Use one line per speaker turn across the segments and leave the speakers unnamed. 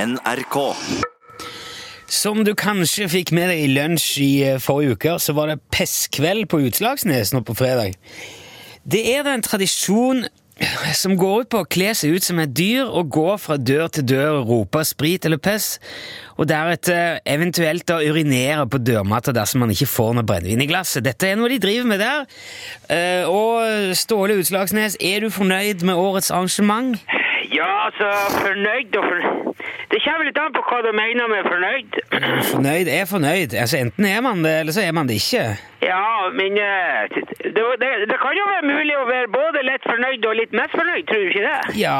NRK.
Som du kanskje fikk med deg i lunsj i eh, forrige uke, så var det pestkveld på Utslagsnes nå på fredag. Det er da en tradisjon som går ut på å kle seg ut som et dyr og gå fra dør til dør og rope sprit eller pess, og deretter eventuelt da urinere på dørmatta dersom man ikke får noe brennevin i glasset. Dette er noe de driver med der. Eh, Og Ståle Utslagsnes, er du fornøyd med årets arrangement?
Ja, altså, fornøyd og fornøyd Det kommer litt an på hva du mener med fornøyd.
Fornøyd er fornøyd. Altså, enten er man det, eller så er man det ikke.
Ja, men eh, det, det, det kan jo være mulig å være både litt fornøyd og litt misfornøyd, tror du ikke det?
Ja,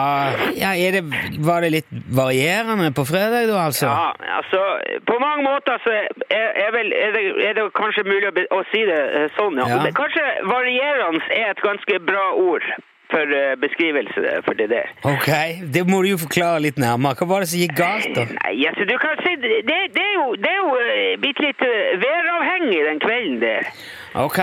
ja er det, Var det litt varierende på fredag, da, altså?
Ja, altså, på mange måter så er, er, vel, er, det, er det kanskje mulig å, be, å si det eh, sånn, ja.
Ja.
Det, kanskje varierende er et ganske bra ord for eh, beskrivelse for det der.
Ok, Det må du jo forklare litt nærmere. Hva var det som gikk galt, da?
Nei, altså, du kan si, det, det er jo, det er jo eh, blitt litt eh, væravhengig den kvelden der.
Ok,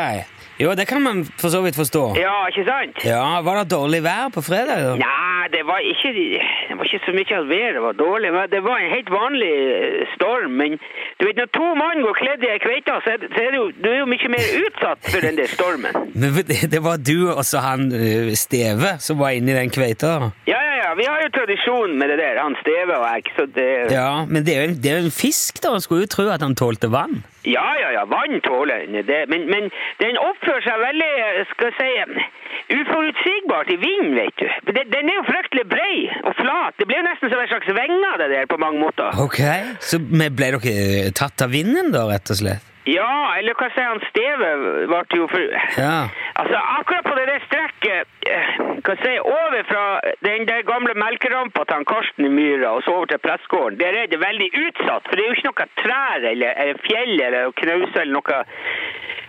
Jo, det kan man for så vidt forstå.
Ja, ikke sant?
Ja, Var det dårlig vær på fredag? da?
Nei, det var ikke, det var ikke så mye at været var dårlig. Men det var en helt vanlig eh, storm. Men du vet, når to mann går kledd i ei kveite, så er, det- så er det jo, du er jo mye mer utsatt for den der stormen.
Men det det var du og så han ø, Steve som var inni den kveita?
Ja, ja, ja. Vi har jo tradisjon med det der. Han Steve og jeg. Så det Ja,
Ja, men det er jo en, det er jo en fisk, da. Man skulle jo tro at han tålte vann.
ja, ja. vann tåler den. Det, men, men den oppfører seg veldig, eh, skal jeg si, eh, uforutsigbart i vinden, vet du. Men Den, den er jo fryktelig brei og flat. Det blir jo nesten som en slags vinger, det der, på mange måter.
Ok, Så men ble dere ø, tatt av vinden, da, rett og slett?
Ja, eller hva sier han Steve ble jo for...
Ja.
Altså, akkurat på det der strekket, eh, hva sier jeg, over fra den der gamle melkerampa til han Karsten i Myra og så over til pressgården, der er det veldig utsatt, for det er jo ikke noe trær eller, eller fjell eller knause eller noe,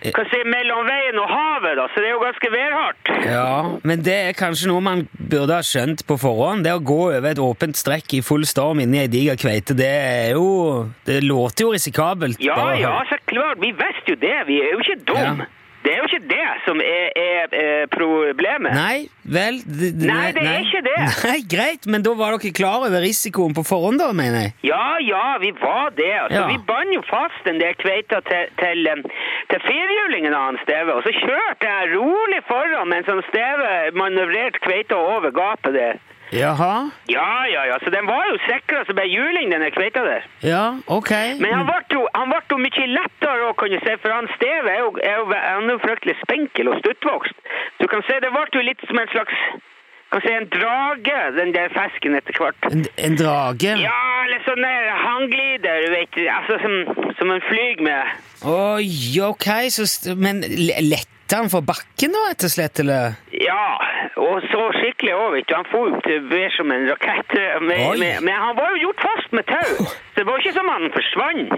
hva sier jeg, mellom veien og havet da, så det er jo ganske værhardt.
Ja, men det er kanskje noe man burde ha skjønt på forhånd. Det å gå over et åpent strekk i full storm inni ei diger kveite, det er jo Det låter jo risikabelt.
Ja,
bare å
ja,
høre.
så klart, vi visste jo det, vi er jo ikke dum.
Ja.
Det er jo ikke det som er, er, er problemet.
Nei, vel det-
Nei, det er ikke det.
Nei, Greit, men da var dere klar over risikoen på forhånd, da, mener jeg.
Ja, ja, vi var det. Altså.
Ja.
Vi bandt jo fast den der kveita til, til, em, til firhjulingen av han Steve, og så kjørte jeg rolig foran mens han Steve manøvrerte kveita over gapet der.
Jaha?
Ja, ja, ja, så den var jo sikra som ei juling, den der kveita der.
Ja, ok.
Men han ble jo, han vart jo mye lettere òg, kan du si, for han Steve er jo, er jo, han er jo fryktelig spinkel og stuttvokst. Så du kan si det ble jo litt som en slags kan si en drage, den der fisken etter hvert.
En, en drage?
Ja, eller sånn der hangglider, du vet. Altså som, som man flyr med.
Oi, ok, så st- Men le- lette han for bakken, da, rett og slett, eller?
Ja, og så skikkelig òg, vet du. Han for jo til vær som en rakett. Men,
Oi.
men, men han var jo gjort fast med tau, så det var ikke som han forsvant.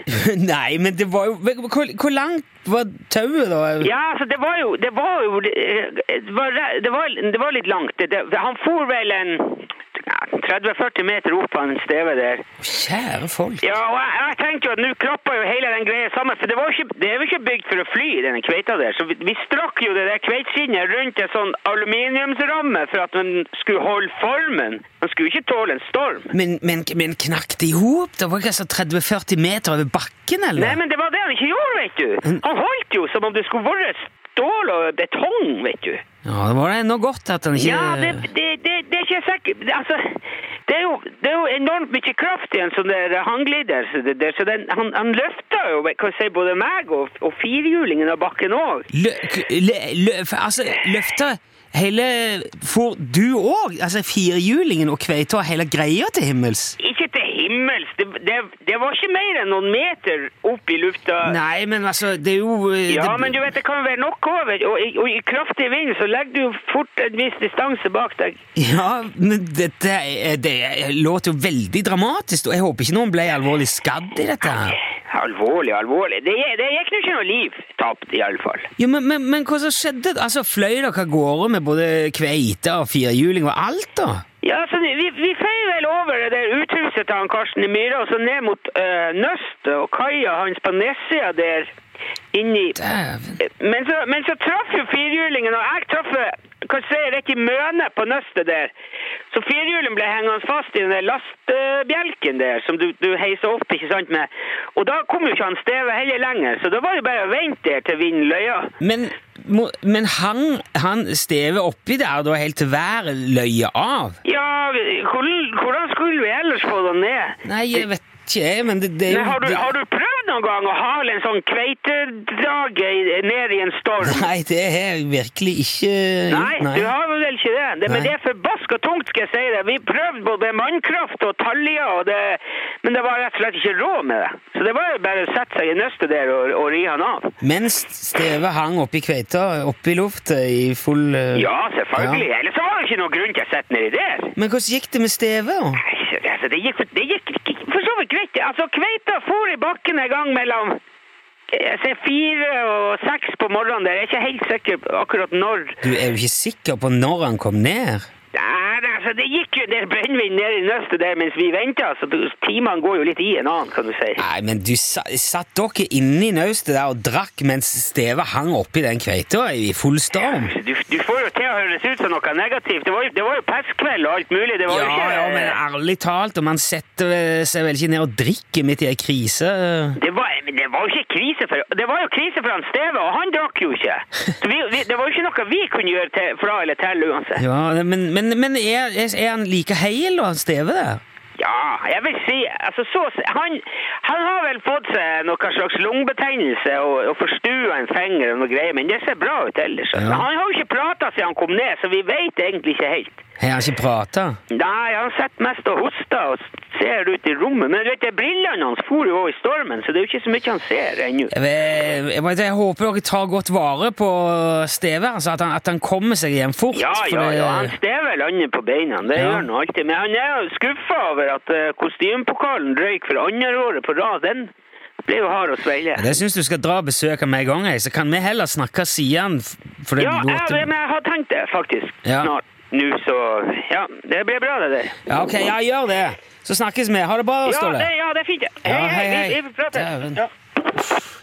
Nei, men det var jo Hvor, hvor langt var tauet, da?
Ja, altså, det var jo Det var jo eh, Det var, re- det var, det var litt langt. Det, det, han for vel en ja, 30-40 meter opp av en steve der.
Kjære folk.
Ja, og jeg, jeg tenkte jo at nå klappa jo hele den greia sammen, for det, var jo ikke, det er jo ikke bygd for å fly, denne kveita der. Så vi, vi strakk jo det der kveitskinnet rundt en sånn aluminiumsramme for at den skulle holde formen. Den skulle jo ikke tåle en storm.
Men, men, men knakk det i hop? Det var ikke altså 30-40 meter over bakken, eller?
Nei, men det var det han ikke gjorde, vet du. Han holdt jo som om det skulle vært stål og betong, vet du.
Ja, det var det ennå godt at han ikke
Ja, det, det, det, det er ikke sikkert det- Altså, det er, jo, det er jo enormt mye kraft i en sånn der hangglider. Så, det, det, så den, han, han løfter jo kan jeg si, både meg og, og firhjulingen av bakken òg.
Lø, k- le, lø, for, altså, løfta hele For du òg? Altså firhjulingen og kveita og hele greia til himmels?
Ikke til himmels. Det, det, det var ikke mer enn noen meter opp i lufta.
Nei, men altså, det er jo eh,
Ja,
det,
men du vet, det kan jo være nok over, og, i- og i kraftig vind så legger du jo fort en viss distanse bak deg.
Ja, men dette er- det låter jo veldig dramatisk, og jeg håper ikke noen ble alvorlig skadd i dette. her.
Alvorlig, alvorlig. Det, det gikk nå ikke noe liv tapt, i alle fall.
Ja, men, men, men hva som skjedde? Altså, Fløy dere av gårde med både kveite og firhjuling og alt, da?
Ja, så vi, vi feier vel over det der uthuset til han Karsten i Myhre, og så ned mot eh, Nøstet og kaia hans på nedsida der. Inni.
Dæven.
Men så, men så traff jo firhjulingen, og jeg traff eh, hva skal jeg si, rett i mønet på nøstet der. Så firhjulen ble hengende fast i den der lastebjelken der, som du, du heiser opp, ikke sant, med. Og da kom jo ikke han Steve heller lenger, så da var det bare å vente der til vinden løya.
Men, må- men hang han stevet oppi der da helt til været løye av?
Ja, hvordan, hvordan skulle vi ellers få den ned?
Nei, jeg vet ikke, jeg, men det, det er jo
Men har du,
det-
har du prøvd noen gang å hale en sånn kveitedrage i- ned i en storm?
Nei, det er virkelig ikke
Nei, du har vel ikke det. det men
Nei.
det er forbaska tungt, skal jeg si det. Vi prøvde både mannkraft og taljer, og det, men det var rett og slett ikke råd med det. Så det var jo bare å sette seg i nøstet der og, og ri han av.
Mens stevet hang oppi kveita, oppi luftet i full eh,
Ja, selvfølgelig.
ja.
Ellers så var det ikke noen grunn til å sette nedi der.
Men hvordan gikk det med stevet? da?
Nei, altså, det gikk, det gikk ikke- for så vidt greit. Altså, kveita for i bakken en gang mellom eh, jeg ser fire og seks på morgenen der. Jeg er ikke helt sikker på akkurat når.
Du er jo ikke sikker på når han kom ned.
Nei, det- altså, det gikk jo en del brennevin ned i nøstet der mens vi venta, så du- timene går jo litt i en annen, kan du si.
Nei, men du sa, satt dere inne i naustet der og drakk mens stevet hang oppi den kveita i full storm?
Du, du får jo til å høres ut som noe negativt. Det var jo, det var jo pestkveld og alt mulig. Det var jo
Ja,
ikke,
ja, men ærlig talt, og man setter vel- seg vel ikke ned og drikker midt i ei krise?
Det var, men det var jo ikke krise for Det var jo krise for han Steve, og han drakk jo ikke. Så vi, vi, det var jo ikke noe vi kunne gjøre til, fra eller til uansett.
Ja, men, men, men er, er han like heil, da, stevet der?
Ja, jeg vil si altså, så, han, han har vel fått seg noen slags lungebetennelse og, og forstua en finger og noe greier, men det ser bra ut ellers. altså.
Ja.
Han har jo ikke prata siden han kom ned, så vi veit egentlig ikke helt.
Har han ikke prata?
Nei, han sitter mest og hoster og ser ut i rommet, men du vet, det er brillene hans for jo også i stormen, så det er jo ikke så mye han ser ennå.
Jeg, vet- jeg, vet- jeg håper dere tar godt vare på stevet, altså at han, at han kommer seg hjem fort.
Ja,
for
ja,
det-
ja, han stever landet på beina, det
Ja.
gjør han alltid. Men han er jo skuffa over at eh, kostymepokalen røyk for andre året på rad. Den ble jo hard å svelge.
Det syns du skal dra og besøke med en gang, jeg, så kan vi heller snakke siden. f- For det
Ja,
går
jeg,
til-
men jeg har tenkt det faktisk
Ja.
snart. Nå, så Ja, det blir bra, det der.
ja, ok, ja, gjør det. Så snakkes vi. Ha det bra,
Ja,
Ståle.
det, ja, det er fint. det.
Ja,
Hei,
hei,
hei,
hei.
vi, vi prater.
Dæven.
Ja.